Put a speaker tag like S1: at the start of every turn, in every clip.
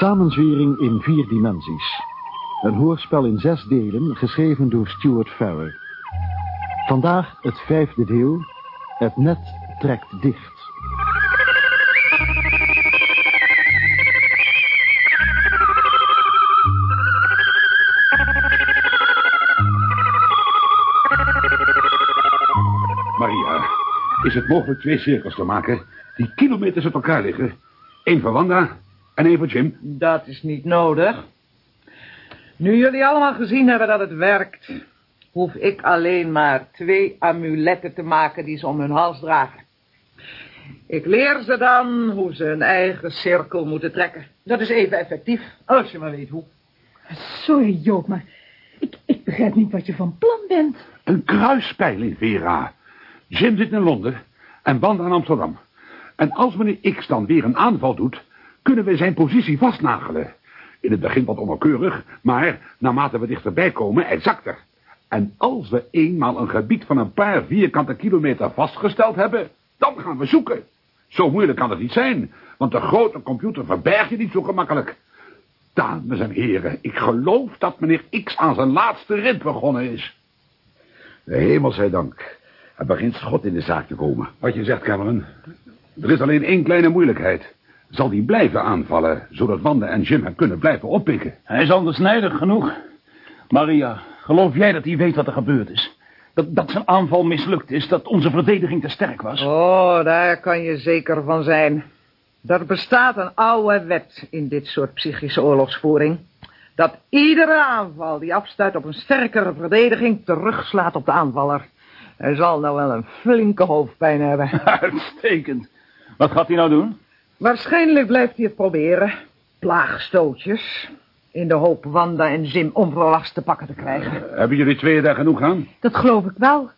S1: Samenzwering in vier dimensies. Een hoorspel in zes delen, geschreven door Stuart Farrer. Vandaag het vijfde deel. Het net trekt dicht.
S2: Maria, is het mogelijk twee cirkels te maken die kilometers uit elkaar liggen? Eén voor Wanda en één voor Jim.
S3: Dat is niet nodig. Nu jullie allemaal gezien hebben dat het werkt... hoef ik alleen maar twee amuletten te maken die ze om hun hals dragen. Ik leer ze dan hoe ze een eigen cirkel moeten trekken. Dat is even effectief, als je maar weet hoe.
S4: Sorry, Joop, maar ik, ik begrijp niet wat je van plan bent.
S2: Een kruispeiling, Vera. Jim zit in Londen en Wanda in Amsterdam. En als meneer X dan weer een aanval doet, kunnen we zijn positie vastnagelen. In het begin wat onnauwkeurig, maar naarmate we dichterbij komen, exacter. En als we eenmaal een gebied van een paar vierkante kilometer vastgesteld hebben, dan gaan we zoeken. Zo moeilijk kan het niet zijn, want de grote computer verberg je niet zo gemakkelijk. Dames en heren, ik geloof dat meneer X aan zijn laatste rit begonnen is.
S5: De hemel zij dank. Er begint schot in de zaak te komen.
S2: Wat je zegt, Cameron. Er is alleen één kleine moeilijkheid. Zal die blijven aanvallen, zodat Wanda en Jim hem kunnen blijven oppikken?
S6: Hij is andersnijdig genoeg. Maria, geloof jij dat hij weet wat er gebeurd is? Dat, dat zijn aanval mislukt is, dat onze verdediging te sterk was?
S3: Oh, daar kan je zeker van zijn. Er bestaat een oude wet in dit soort psychische oorlogsvoering. Dat iedere aanval die afstuit op een sterkere verdediging terugslaat op de aanvaller. Hij zal nou wel een flinke hoofdpijn hebben.
S6: Uitstekend. Wat gaat hij nou doen?
S3: Waarschijnlijk blijft hij het proberen. Plaagstootjes. In de hoop Wanda en Jim onverwachts te pakken te krijgen.
S2: Hebben jullie twee daar genoeg aan?
S4: Dat geloof ik wel.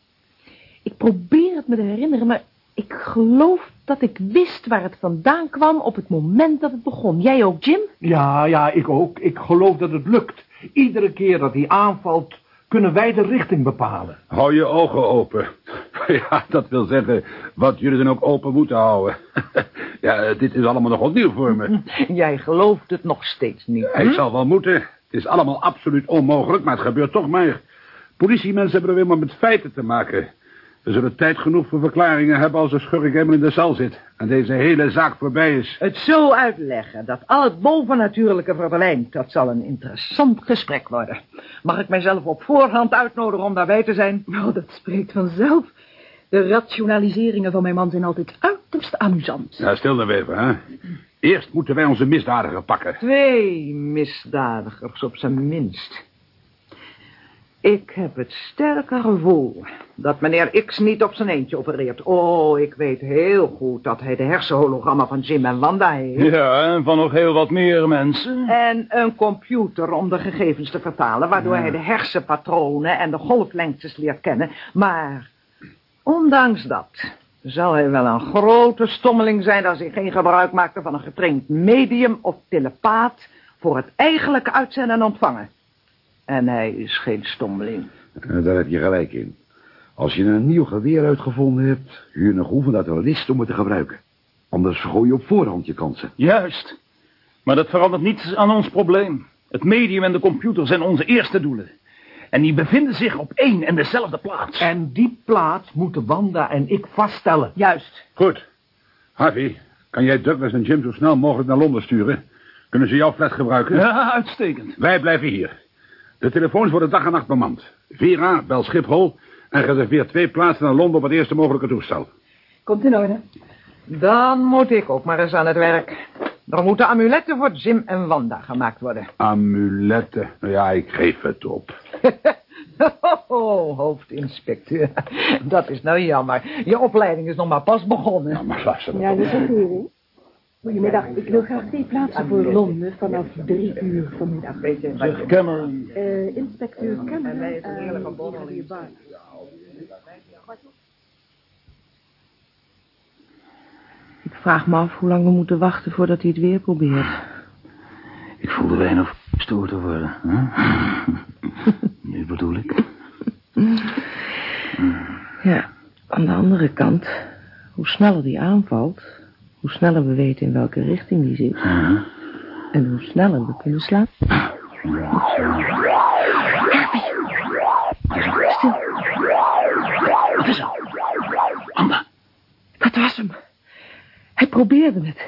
S4: Ik probeer het me te herinneren, maar ik geloof dat ik wist waar het vandaan kwam op het moment dat het begon. Jij ook, Jim?
S7: Ja, ja, ik ook. Ik geloof dat het lukt. Iedere keer dat hij aanvalt, kunnen wij de richting bepalen.
S2: Hou je ogen open. Ja, dat wil zeggen, wat jullie dan ook open moeten houden. Ja, dit is allemaal nog opnieuw voor me.
S3: Jij gelooft het nog steeds niet.
S2: Ik zal wel moeten. Het is allemaal absoluut onmogelijk, maar het gebeurt toch maar. Politiemensen hebben er weer maar met feiten te maken. We zullen tijd genoeg voor verklaringen hebben als de schurk helemaal in de zaal zit... en deze hele zaak voorbij is.
S3: Het zo uitleggen dat al het bovennatuurlijke verdwijnt, dat zal een interessant gesprek worden. Mag ik mijzelf op voorhand uitnodigen om daarbij te zijn?
S4: Nou, dat spreekt vanzelf. De rationaliseringen van mijn man zijn altijd uiterst amusant.
S2: Ja, stil dan even, hè. Eerst moeten wij onze misdadiger pakken.
S3: Twee misdadigers op zijn minst. Ik heb het sterke gevoel dat meneer X niet op zijn eentje opereert. Oh, ik weet heel goed dat hij de hersenhologramma van Jim en Wanda heeft.
S6: Ja, en van nog heel wat meer mensen.
S3: En een computer om de gegevens te vertalen, waardoor hij de hersenpatronen en de golflengtes leert kennen. Maar ondanks dat zou hij wel een grote stommeling zijn als hij geen gebruik maakte van een getraind medium of telepaat voor het eigenlijke uitzenden en ontvangen. En hij is geen stommeling.
S5: Eh, Daar heb je gelijk in. Als je een nieuw geweer uitgevonden hebt, huur nog oefen uit een list om het te gebruiken. Anders gooi je op voorhand je kansen.
S6: Juist. Maar dat verandert niets aan ons probleem. Het medium en de computer zijn onze eerste doelen. En die bevinden zich op één en dezelfde plaats.
S7: En die plaats moeten Wanda en ik vaststellen.
S3: Juist.
S2: Goed. Harvey, kan jij Douglas en Jim zo snel mogelijk naar Londen sturen? Kunnen ze jouw flat gebruiken?
S6: Ja, uitstekend.
S2: Wij blijven hier. De telefoons worden dag en nacht bemand. Vera, bel Schiphol en reserveer twee plaatsen naar Londen op het eerste mogelijke toestel.
S4: Komt in orde.
S3: Dan moet ik ook maar eens aan het werk. Er moeten amuletten voor Jim en Wanda gemaakt worden.
S2: Amuletten. Nou Ja, ik geef het op.
S3: Oh, hoofdinspecteur. Dat is nou jammer. Je opleiding is nog maar pas begonnen.
S2: Nou, maar luister.
S4: Ja, dat is ook weer. Goedemiddag, ik wil graag twee plaatsen voor Londen vanaf drie uur vanmiddag.
S6: Zeg, Cameron.
S4: Eh inspecteur Cameron. eh, meneer Bar-
S8: Ik vraag me af hoe lang we moeten wachten voordat hij het weer probeert.
S6: Ik voel er weinig of gestoord te worden. Hè? nu bedoel ik.
S8: Ja, aan de andere kant, hoe sneller die aanvalt, hoe sneller we weten in welke richting die zit. En hoe sneller we kunnen slaan.
S6: Anda,
S8: Dat was hem. Hij probeerde het.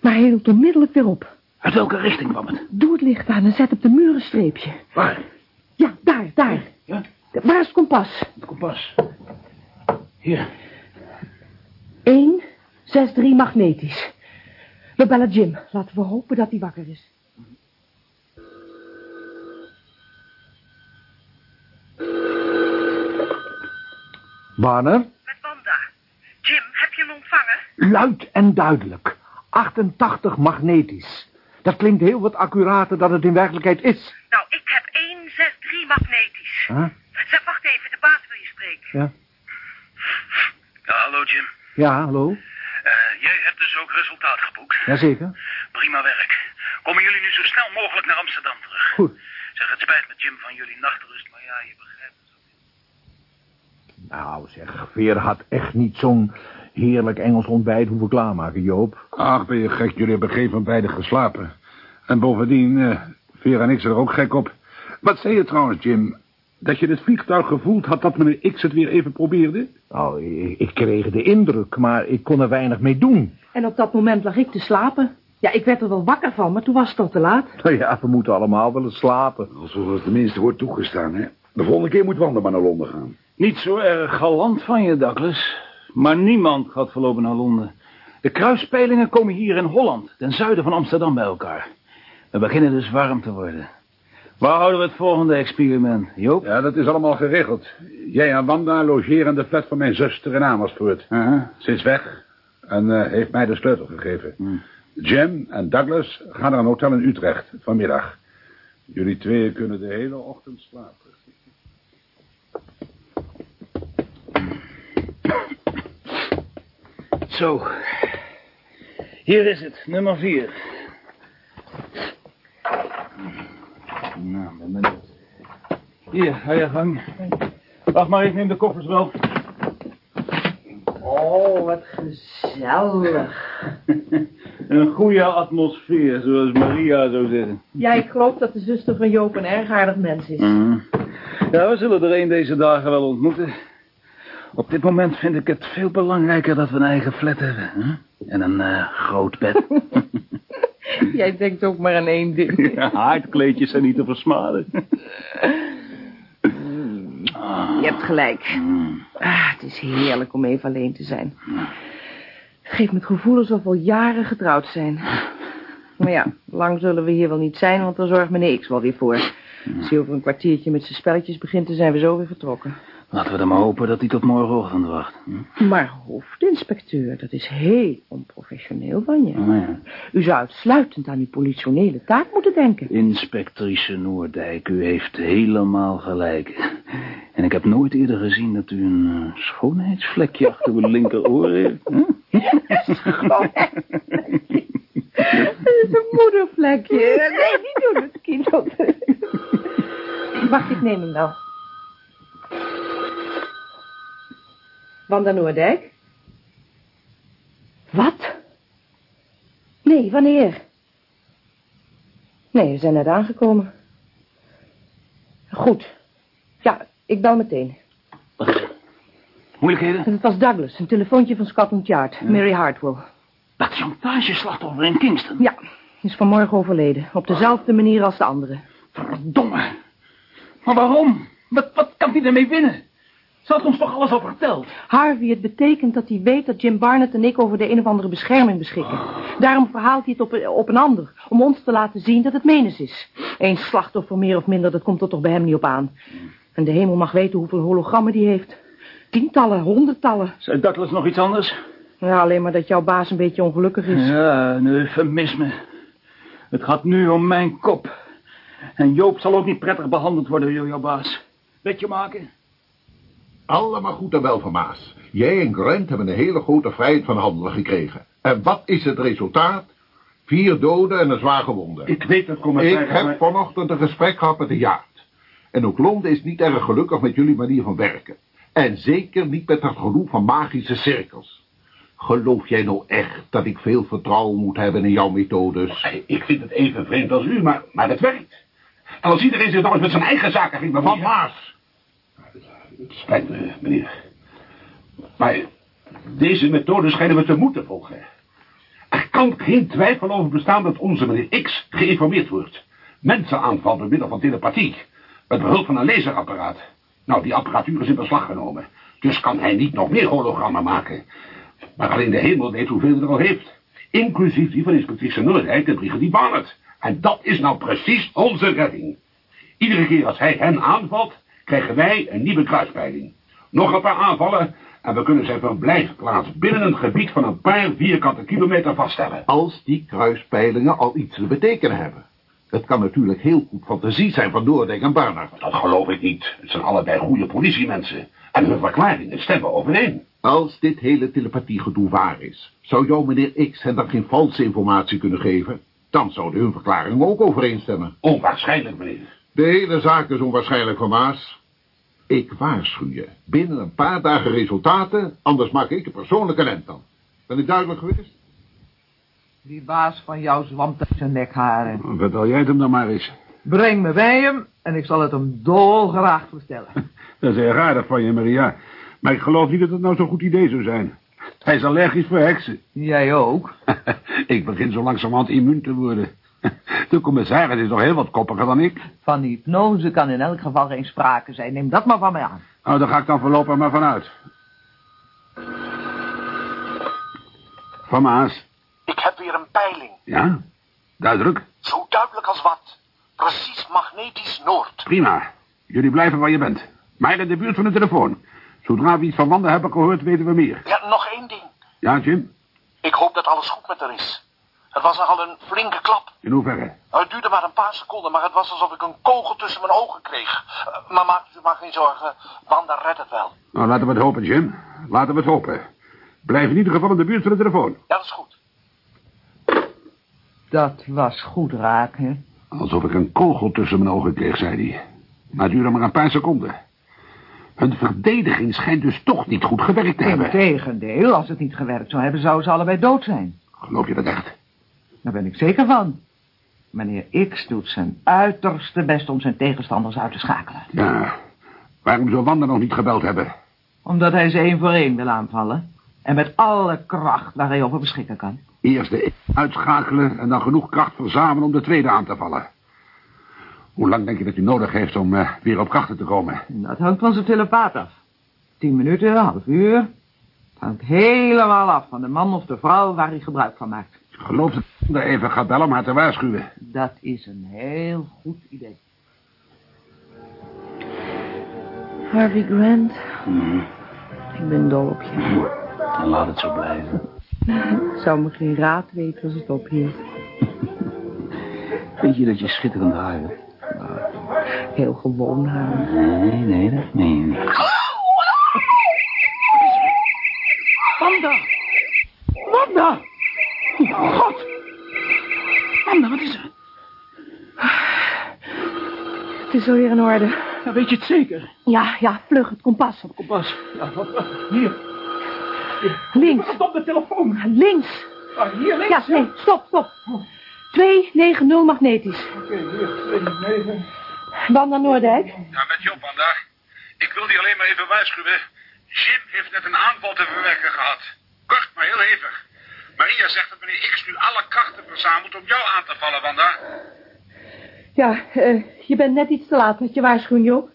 S8: Maar hij hield onmiddellijk weer op.
S6: uit welke richting kwam het?
S8: Doe het licht aan en zet op de muur een streepje.
S6: Waar?
S8: Ja, daar, daar.
S6: Ja?
S8: Waar is het kompas?
S6: Het kompas. Hier.
S8: 1, 6, 3 magnetisch. We bellen Jim. Laten we hopen dat hij wakker is.
S7: Warner?
S9: Met Wanda. Jim, heb je hem ontvangen?
S7: Luid en duidelijk. 88 magnetisch. Dat klinkt heel wat accurater dan het in werkelijkheid is.
S9: Nou, ik heb 163 magnetisch.
S7: Huh?
S9: Zeg, wacht even, de baas wil je spreken.
S7: Ja.
S9: hallo Jim.
S7: Ja, hallo?
S9: jij hebt dus ook resultaat geboekt.
S7: Jazeker.
S9: Prima werk. Komen jullie nu zo snel mogelijk naar Amsterdam terug?
S7: Goed.
S9: Zeg, het spijt me Jim van jullie nachtrust, maar ja, je begrijpt het.
S7: Nou zeg, Veer had echt niet zo'n heerlijk Engels ontbijt hoeven klaarmaken, Joop.
S2: Ach, ben je gek. Jullie hebben geen van beiden geslapen. En bovendien, eh Vera en ik zijn er ook gek op. Wat zei je trouwens, Jim? Dat je het vliegtuig gevoeld had dat meneer X het weer even probeerde?
S7: Nou, ik, ik kreeg de indruk, maar ik kon er weinig mee doen.
S4: En op dat moment lag ik te slapen. Ja, ik werd er wel wakker van, maar toen was het al te laat.
S7: Nou ja, we moeten allemaal willen slapen.
S5: Alsof Nou, het tenminste wordt toegestaan, hè? De volgende keer moet Wanda maar naar Londen gaan.
S6: Niet zo erg galant van je, Douglas. Maar niemand gaat voorlopig naar Londen. De kruispeilingen komen hier in Holland, ten zuiden van Amsterdam, bij elkaar. We beginnen dus warm te worden. Waar houden we het volgende experiment, Joop?
S2: Ja, dat is allemaal geregeld. Jij en Wanda logeren in de flat van mijn zuster in Amersfoort.
S6: Aha.
S2: Ze is weg en eh, heeft mij de sleutel gegeven.
S6: Hmm.
S2: Jim en Douglas gaan naar een hotel in Utrecht vanmiddag. Jullie tweeën kunnen de hele ochtend slapen.
S6: Zo. Hier is het, nummer vier. Nou, ben benieuwd. Hier, ga je gang. Wacht maar, ik neem de koffers wel.
S3: Oh, wat gezellig.
S6: Een goede atmosfeer, zoals Maria zou zeggen.
S4: Ja, ik geloof dat de zuster van Joop een erg aardig mens is.
S2: Mm. Hm.
S6: Ja, we zullen er een deze dagen wel ontmoeten. Op dit moment vind ik het veel belangrijker dat we een eigen flat hebben. Hè? En een eh, groot bed.
S8: Jij denkt ook maar aan één ding.
S6: ja, haardkleedjes zijn niet te versmaden.
S8: Je hebt gelijk.
S6: Hmm.
S8: Ah, het is heerlijk om even alleen te zijn. Het geeft me het gevoel alsof we al jaren getrouwd zijn. Maar ja, lang zullen we hier wel niet zijn, want dan zorgt meneer X wel weer voor. Als hij over een kwartiertje met zijn spelletjes begint, dan zijn we zo weer vertrokken.
S6: Laten we dan maar hopen dat hij tot morgenochtend wacht. Hm?
S8: Maar hoofdinspecteur, dat is heel onprofessioneel van je.
S6: Nou ja.
S8: U zou uitsluitend aan die politionele taak moeten denken.
S6: Inspectrice Noordijk, u heeft helemaal gelijk. En ik heb nooit eerder gezien dat u een eh, schoonheidsvlekje achter uw linkeroor heeft. hè?
S8: Dat is een moedervlekje. Nee, niet doen het, kind. Wacht, ik neem hem wel. Wanda Noordijk? Wat? Nee, wanneer? Nee, we zijn net aangekomen. Goed. Ja, ik bel meteen.
S6: Moeilijkheden?
S8: Het was Douglas, een telefoontje van Scotland Yard. Mary Hartwell.
S6: Dat chantageslachtoffer in Kingston.
S8: Ja, is vanmorgen overleden. Op dezelfde manier als de anderen.
S6: Verdomme. Maar waarom? Wat, wat kan hij ermee winnen? Ze had ons toch alles al verteld?
S8: Harvey, het betekent dat hij weet dat Jim Barnett en ik over de een of andere bescherming beschikken. Daarom verhaalt hij het op, een- op een ander, om ons te laten zien dat het menens is. Eén slachtoffer meer of minder, dat komt er toch bij hem niet op aan. En de hemel mag weten hoeveel hologrammen die heeft. Tientallen, honderdtallen.
S6: Zei Douglas nog iets anders?
S8: Ja, alleen maar dat jouw baas een beetje ongelukkig is.
S6: Ja, een eufemisme. Het gaat nu om mijn kop. En Joop zal ook niet prettig behandeld worden door jouw baas. Weet je maken?
S10: Allemaal goed en wel van Maas. Jij en Grant hebben een hele grote vrijheid van handelen gekregen. En wat is het resultaat? Vier doden en een zwaar gewonde. Ik,
S2: Ik weet dat commissaris.
S10: heb vanochtend een gesprek gehad met de jaard. En ook Londen is niet erg gelukkig met jullie manier van werken. En zeker niet met dat gedoe van magische cirkels. Geloof jij nou echt dat ik veel vertrouwen moet hebben in jouw methodes?
S2: Ik vind het even vreemd als u, maar, maar het werkt. En als iedereen zich nog eens met zijn eigen zaken ging bemoeien...
S10: Van Maas,
S2: Het spijt me, meneer. Maar deze methode schijnen we te moeten volgen. Er kan geen twijfel over bestaan dat onze meneer X geïnformeerd wordt. Mensen aanvalt door middel van telepathie. Met behulp van een laserapparaat. Nou, die apparatuur is in beslag genomen. Dus kan hij niet nog meer hologrammen maken. Maar alleen de hemel weet hoeveel hij er al heeft. Inclusief die van inspectrice Noordijk en brigadier Barnett. En dat is nou precies onze redding. Iedere keer als hij hen aanvalt, krijgen wij een nieuwe kruispeiling. Nog een paar aanvallen en we kunnen zijn verblijfplaats binnen een gebied van een paar vierkante kilometer vaststellen.
S10: als die kruispeilingen al iets te betekenen hebben. Het kan natuurlijk heel goed fantasie zijn van Noordijk en Barnard.
S2: Dat geloof ik niet. Het zijn allebei goede politiemensen. En hun verklaringen stemmen overeen.
S10: Als dit hele telepathiegedoe waar is, zou jouw meneer X hen dan geen valse informatie kunnen geven? Dan zouden hun verklaringen ook overeenstemmen.
S2: Onwaarschijnlijk, meneer.
S10: De hele zaak is onwaarschijnlijk van Maas. Ik waarschuw je. Binnen een paar dagen resultaten, anders maak ik er persoonlijk een end aan. Ben ik duidelijk geweest?
S3: Die baas van jou zwamt uit zijn nekharen.
S2: Vertel jij het hem dan maar eens.
S3: Breng me bij hem en ik zal het hem dolgraag vertellen.
S2: Dat is heel raar van je, Maria. Maar ik geloof niet dat het nou zo'n goed idee zou zijn. Hij is allergisch voor heksen.
S3: Jij ook.
S2: ik begin zo langzamerhand immuun te worden. De commissaris is nog heel wat koppiger dan ik.
S3: Van die hypnose kan in elk geval geen sprake zijn. Neem dat maar van mij aan.
S2: Nou, daar ga ik dan voorlopig maar vanuit. Van Maas.
S9: Ik heb weer een peiling.
S2: Ja? Duidelijk?
S9: Zo duidelijk als wat. Precies magnetisch noord.
S2: Prima. Jullie blijven waar je bent. Maar in de buurt van de telefoon. Zodra we iets van Wanda hebben gehoord, weten we meer.
S9: Ja, nog één ding.
S2: Ja, Jim?
S9: Ik hoop dat alles goed met haar is. Het was nogal een flinke klap.
S2: In hoeverre?
S9: Nou, Het duurde maar een paar seconden, maar het was alsof ik een kogel tussen mijn ogen kreeg. Eh, Maar maak je maar geen zorgen, Wanda redt het wel.
S2: Nou, laten we het hopen, Jim. Laten we het hopen. Blijf in ieder geval in de buurt van de telefoon.
S9: Ja, dat is goed.
S3: Dat was goed raak, hè?
S2: Alsof ik een kogel tussen mijn ogen kreeg, zei hij. Maar het duurde maar een paar seconden. Hun verdediging schijnt dus toch niet goed gewerkt te hebben.
S3: Integendeel, als het niet gewerkt zou hebben, zouden ze allebei dood zijn.
S2: Geloof je dat echt?
S3: Daar ben ik zeker van. Meneer X doet zijn uiterste best om zijn tegenstanders uit te schakelen.
S2: Ja. Waarom zou Wanda nog niet gebeld hebben?
S3: Omdat hij ze één voor één wil aanvallen. En met alle kracht waar hij over beschikken kan.
S2: Eerst de een uitschakelen en dan genoeg kracht verzamelen om de tweede aan te vallen. Hoe lang denk je dat u nodig heeft om eh, weer op krachten te komen?
S3: En dat hangt van zijn telepaat af. Tien minuten, een half uur. Het hangt helemaal af van de man of de vrouw waar hij gebruik van maakt.
S2: Ik Geloof dat ik er even ga bellen om haar te waarschuwen.
S3: Dat is een heel goed idee.
S8: Harvey Grant, ik ben dol op je.
S6: En Mhm. laat het zo blijven.
S8: Ik zou me geen raad weten als het ophield.
S6: Vind je dat je schitterend haar hebt?
S8: Heel gewoon haar.
S6: Nee, nee, dat meen je niet.
S3: Wanda! Wanda!
S6: God! Wanda, wat is er?
S8: Het is alweer in orde.
S6: Ja, weet je het zeker?
S8: Ja, ja, vlug, het kompas.
S6: Kompas. Ja, wat- wat- hier.
S8: Links,
S6: Wat op de telefoon?
S8: links.
S6: Ah, hier links. Oh.
S8: Ja, nee, stop, stop. 290 magnetisch.
S6: Oké, hier. twee, negen.
S8: Wanda Noordijk.
S9: Ja, met Job, Wanda. Ik wil die alleen maar even waarschuwen. Jim heeft net een aanval te verwerken gehad. Kort, maar heel hevig. Maria zegt dat meneer X nu alle krachten verzamelt om jou aan te vallen, Wanda.
S8: Ja, eh, je bent net iets te laat met je waarschuwing, Joop.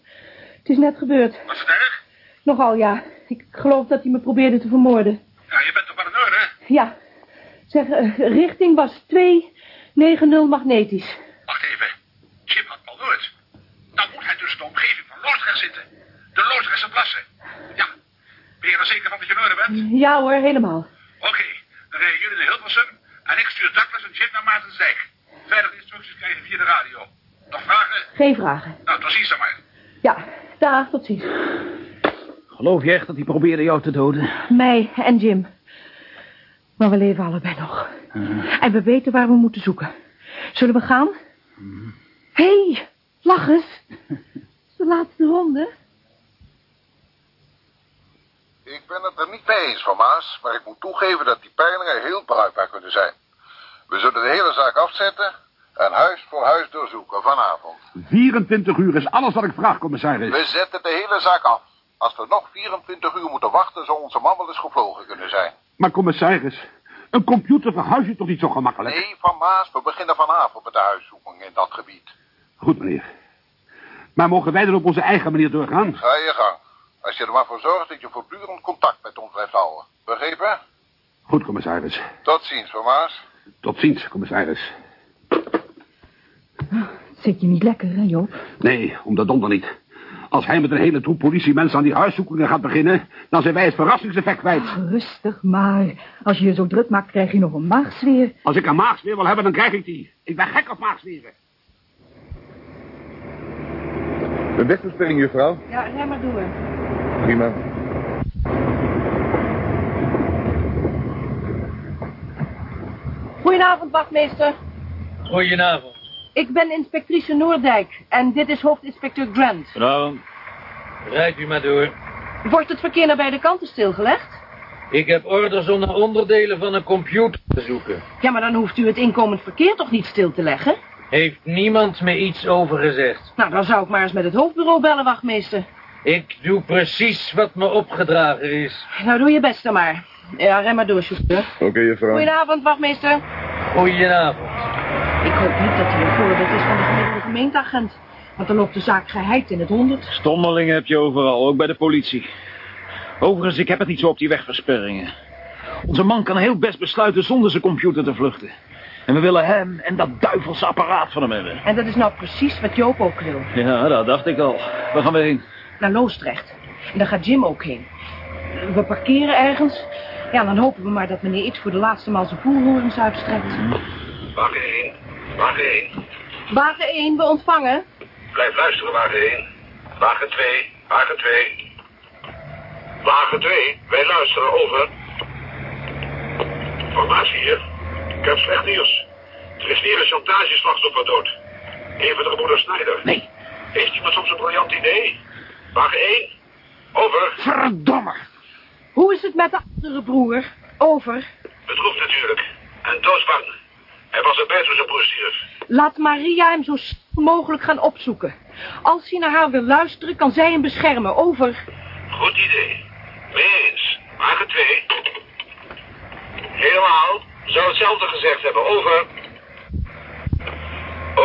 S8: Het is net gebeurd.
S9: Was het erg?
S8: Nogal, ja. Ik geloof dat hij me probeerde te vermoorden.
S9: Ja, je bent toch maar een orde, hè?
S8: Ja, zeg, eh, richting was 290 magnetisch.
S9: Wacht even. Jim had al nooit. Dan moet hij dus in de omgeving van Loosdrecht zitten. De Loosdrechtse plassen. Ja. Ben je er zeker van dat je in orde bent?
S8: Ja hoor, helemaal.
S9: Oké. Dan rijden jullie naar Hilversum. En ik stuur Douglas en Jim naar Maartensdijk. Verdere instructies krijgen via de radio. Nog vragen?
S8: Geen vragen.
S9: Nou, tot ziens dan maar.
S8: Ja, dag, tot ziens.
S6: Geloof je echt dat hij probeerde jou te doden?
S8: Mij en Jim. Maar we leven allebei nog.
S6: Mhm.
S8: En we weten waar we moeten zoeken. Zullen we gaan?
S6: Mhm.
S8: Hé, hey, lach eens. Het is de laatste ronde.
S10: Ik
S9: Ik ben het er niet mee eens van Maas, maar ik moet toegeven dat die peilingen heel bruikbaar kunnen zijn. We zullen de hele zaak afzetten en huis voor huis doorzoeken vanavond.
S10: 24 uur is alles wat ik vraag, commissaris.
S9: We zetten de hele zaak af. Als we nog 24 uur moeten wachten, zou onze man wel eens gevlogen kunnen zijn.
S10: Maar commissaris, een computer verhuis je toch niet zo gemakkelijk?
S9: Nee, Van Maas, we beginnen vanavond met de huiszoeking in dat gebied.
S10: Goed, meneer. Maar mogen wij er op onze eigen manier doorgaan?
S9: Ga je gang. Als je er maar voor zorgt dat je voortdurend contact met ons blijft houden. Begrepen?
S10: Goed, commissaris.
S9: Tot ziens, Van Maas.
S10: Tot ziens, commissaris.
S11: Zit je niet lekker, hè, Joop?
S10: Nee, om dat donder niet. Als hij met een hele troep politiemensen aan die huiszoekingen gaat beginnen... dan zijn wij het verrassingseffect kwijt.
S11: Rustig maar. Als je je zo druk maakt, krijg je nog een maagsfeer.
S10: Als ik een maagsfeer wil hebben, dan krijg ik die. Ik ben gek op maagsferen.
S12: Een wegbespeling, juffrouw.
S8: Ja, rij maar door.
S12: Prima.
S8: Goedenavond, wachtmeester.
S13: Goedenavond.
S8: Ik ben inspectrice Noordijk en dit is hoofdinspecteur Grant.
S13: Goedenavond. Rijdt u maar door.
S8: Wordt het verkeer naar beide kanten stilgelegd?
S13: Ik heb orders om naar onderdelen van een computer te zoeken.
S8: Ja, maar dan hoeft u het inkomend verkeer toch niet stil te leggen?
S13: Heeft niemand me iets over gezegd?
S8: Nou, dan zou ik maar eens met het hoofdbureau bellen, wachtmeester.
S13: Ik doe precies wat me opgedragen is.
S8: Nou, doe je best dan maar. Ja, rem maar door, chauffeur.
S12: Oké, juffrouw.
S8: Goedenavond, wachtmeester.
S13: Goedenavond.
S8: Ik hoop niet dat u een voorbeeld is van de gemiddelde gemeenteagent. Want dan loopt de zaak geheid in het honderd.
S1: Stommelingen heb je overal, ook bij de politie. Overigens, ik heb het niet zo op die wegversperringen. Onze man kan heel best besluiten zonder zijn computer te vluchten. En we willen hem en dat duivelse apparaat van hem hebben.
S8: En dat is nou precies wat Joop ook wil.
S1: Ja, dat dacht ik al. Waar gaan we heen?
S8: Naar Loosdrecht. En daar gaat Jim ook heen. We parkeren ergens. Ja, dan hopen we maar dat meneer iets voor de laatste maal zijn voelhorens uitstrekt.
S9: Mhm. Wagen 1, wagen 1.
S8: Wagen 1, we ontvangen.
S9: Blijf luisteren, wagen 1. Wagen 2, wagen 2. Wagen 2, wij luisteren, over. Formatie hier. Ik heb slecht nieuws. Er is weer een chantageslachtoffer dood. Een van de moeder Snijder.
S1: Nee.
S9: Heeft iemand soms een briljant idee? Wagen 1, over.
S1: Verdomme!
S8: Hoe is het met de andere broer? Over.
S9: Bedroefd natuurlijk. En doodsbang. Hij was erbij toen ze positief.
S8: Laat Maria hem zo snel mogelijk gaan opzoeken. Als hij naar haar wil luisteren, kan zij hem beschermen. Over.
S9: Goed idee. Mee eens. Wagen 2. Helemaal. Zou hetzelfde gezegd hebben. Over.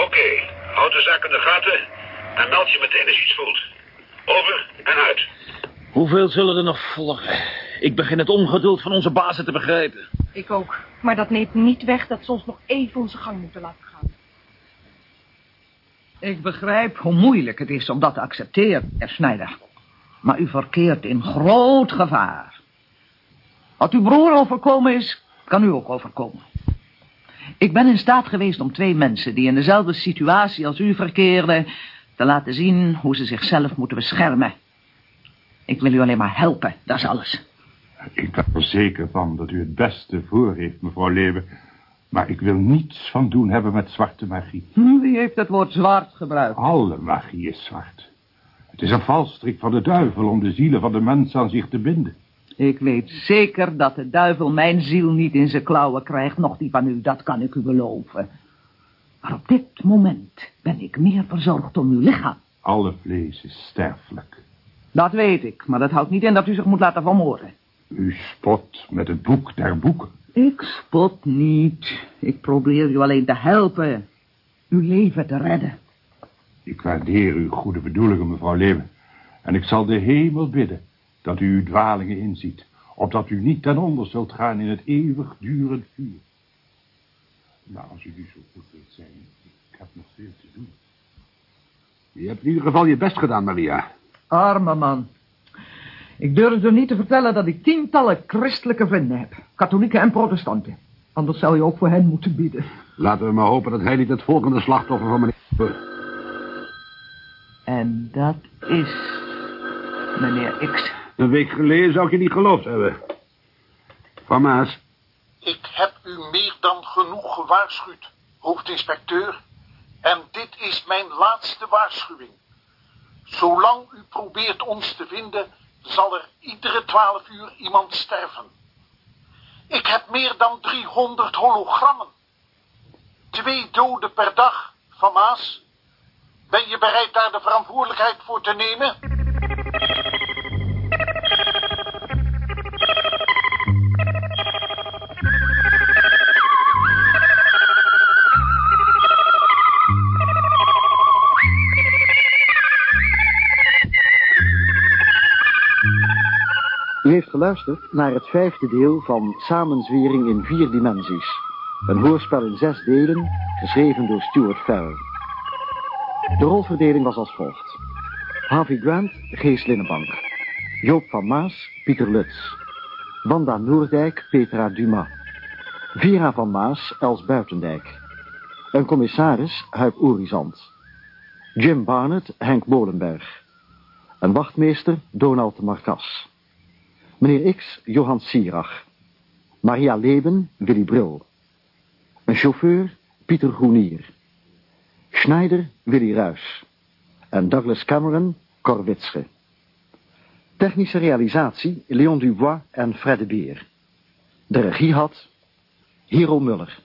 S9: Oké. Houd de zaak in de gaten. En meld je meteen als je iets voelt. Over en uit.
S1: Hoeveel zullen er nog volgen? Ik begin het ongeduld van onze bazen te begrijpen.
S8: Ik ook. Maar dat neemt niet weg dat ze ons nog even onze gang moeten laten gaan.
S3: Ik begrijp hoe moeilijk het is om dat te accepteren, meneer Snijder. Maar u verkeert in groot gevaar. Wat uw broer overkomen is, kan u ook overkomen. Ik ben in staat geweest om twee mensen die in dezelfde situatie als u verkeerden... te laten zien hoe ze zichzelf moeten beschermen. Ik wil u alleen maar helpen, dat is alles.
S2: Ik ben er zeker van dat u het beste voor heeft, mevrouw Leeuwen. Maar ik wil niets van doen hebben met zwarte magie.
S3: Hm, Wie heeft het woord zwart gebruikt?
S2: Alle magie is zwart. Het is een valstrik van de duivel om de zielen van de mens aan zich te binden.
S3: Ik weet zeker dat de duivel mijn ziel niet in zijn klauwen krijgt, nog die van u, dat kan ik u beloven. Maar op dit moment ben ik meer verzorgd om uw lichaam.
S2: Alle vlees is sterfelijk.
S3: Dat weet ik, maar dat houdt niet in dat u zich moet laten vermoorden.
S2: U spot met het boek der boeken.
S3: Ik spot niet. Ik probeer u alleen te helpen. Uw leven te redden.
S2: Ik waardeer uw goede bedoelingen, mevrouw Leeuwen. En ik zal de hemel bidden dat u uw dwalingen inziet. Opdat u niet ten onder zult gaan in het eeuwig durend vuur. Maar als u nu zo goed wilt zijn, ik heb nog veel te doen.
S10: Je hebt in ieder geval je best gedaan, Maria.
S3: Arme man. Ik durf u niet te vertellen dat ik tientallen christelijke vrienden heb. Katholieken en protestanten. Anders zou je ook voor hen moeten bieden.
S10: Laten we maar hopen dat hij niet het volgende slachtoffer van meneer...
S3: En dat is... meneer X.
S10: Een week geleden zou ik je niet geloofd hebben. Van Maas,
S9: Ik heb u meer dan genoeg gewaarschuwd, hoofdinspecteur. En dit is mijn laatste waarschuwing. Zolang u probeert ons te vinden, zal er iedere twaalf uur iemand sterven. Ik heb meer dan 300 hologrammen. Twee doden per dag, Van Maas. Ben je bereid daar de verantwoordelijkheid voor te nemen?
S1: U heeft geluisterd naar het vijfde deel van Samenzwering in Vier Dimensies. Een hoorspel in zes delen, geschreven door Stuart Farrell. De rolverdeling was als volgt. Harvey Grant, Gees Linnenbank. Joop van Maas, Pieter Lutz. Wanda Noordijk, Petra Dumas. Vera van Maas, Els Buitendijk. Een commissaris, Huip Orizant. Jim Barnett, Henk Bolenberg. Een wachtmeester, Donald de Marcas. Meneer X, Johan Sierach. Maria Leben, Willy Bril. Een chauffeur, Pieter Groenier. Schneider, Willy Ruys. En Douglas Cameron, Cor Witsche. Technische realisatie, Leon Dubois en Fred de Bier. De regie had Hero Muller.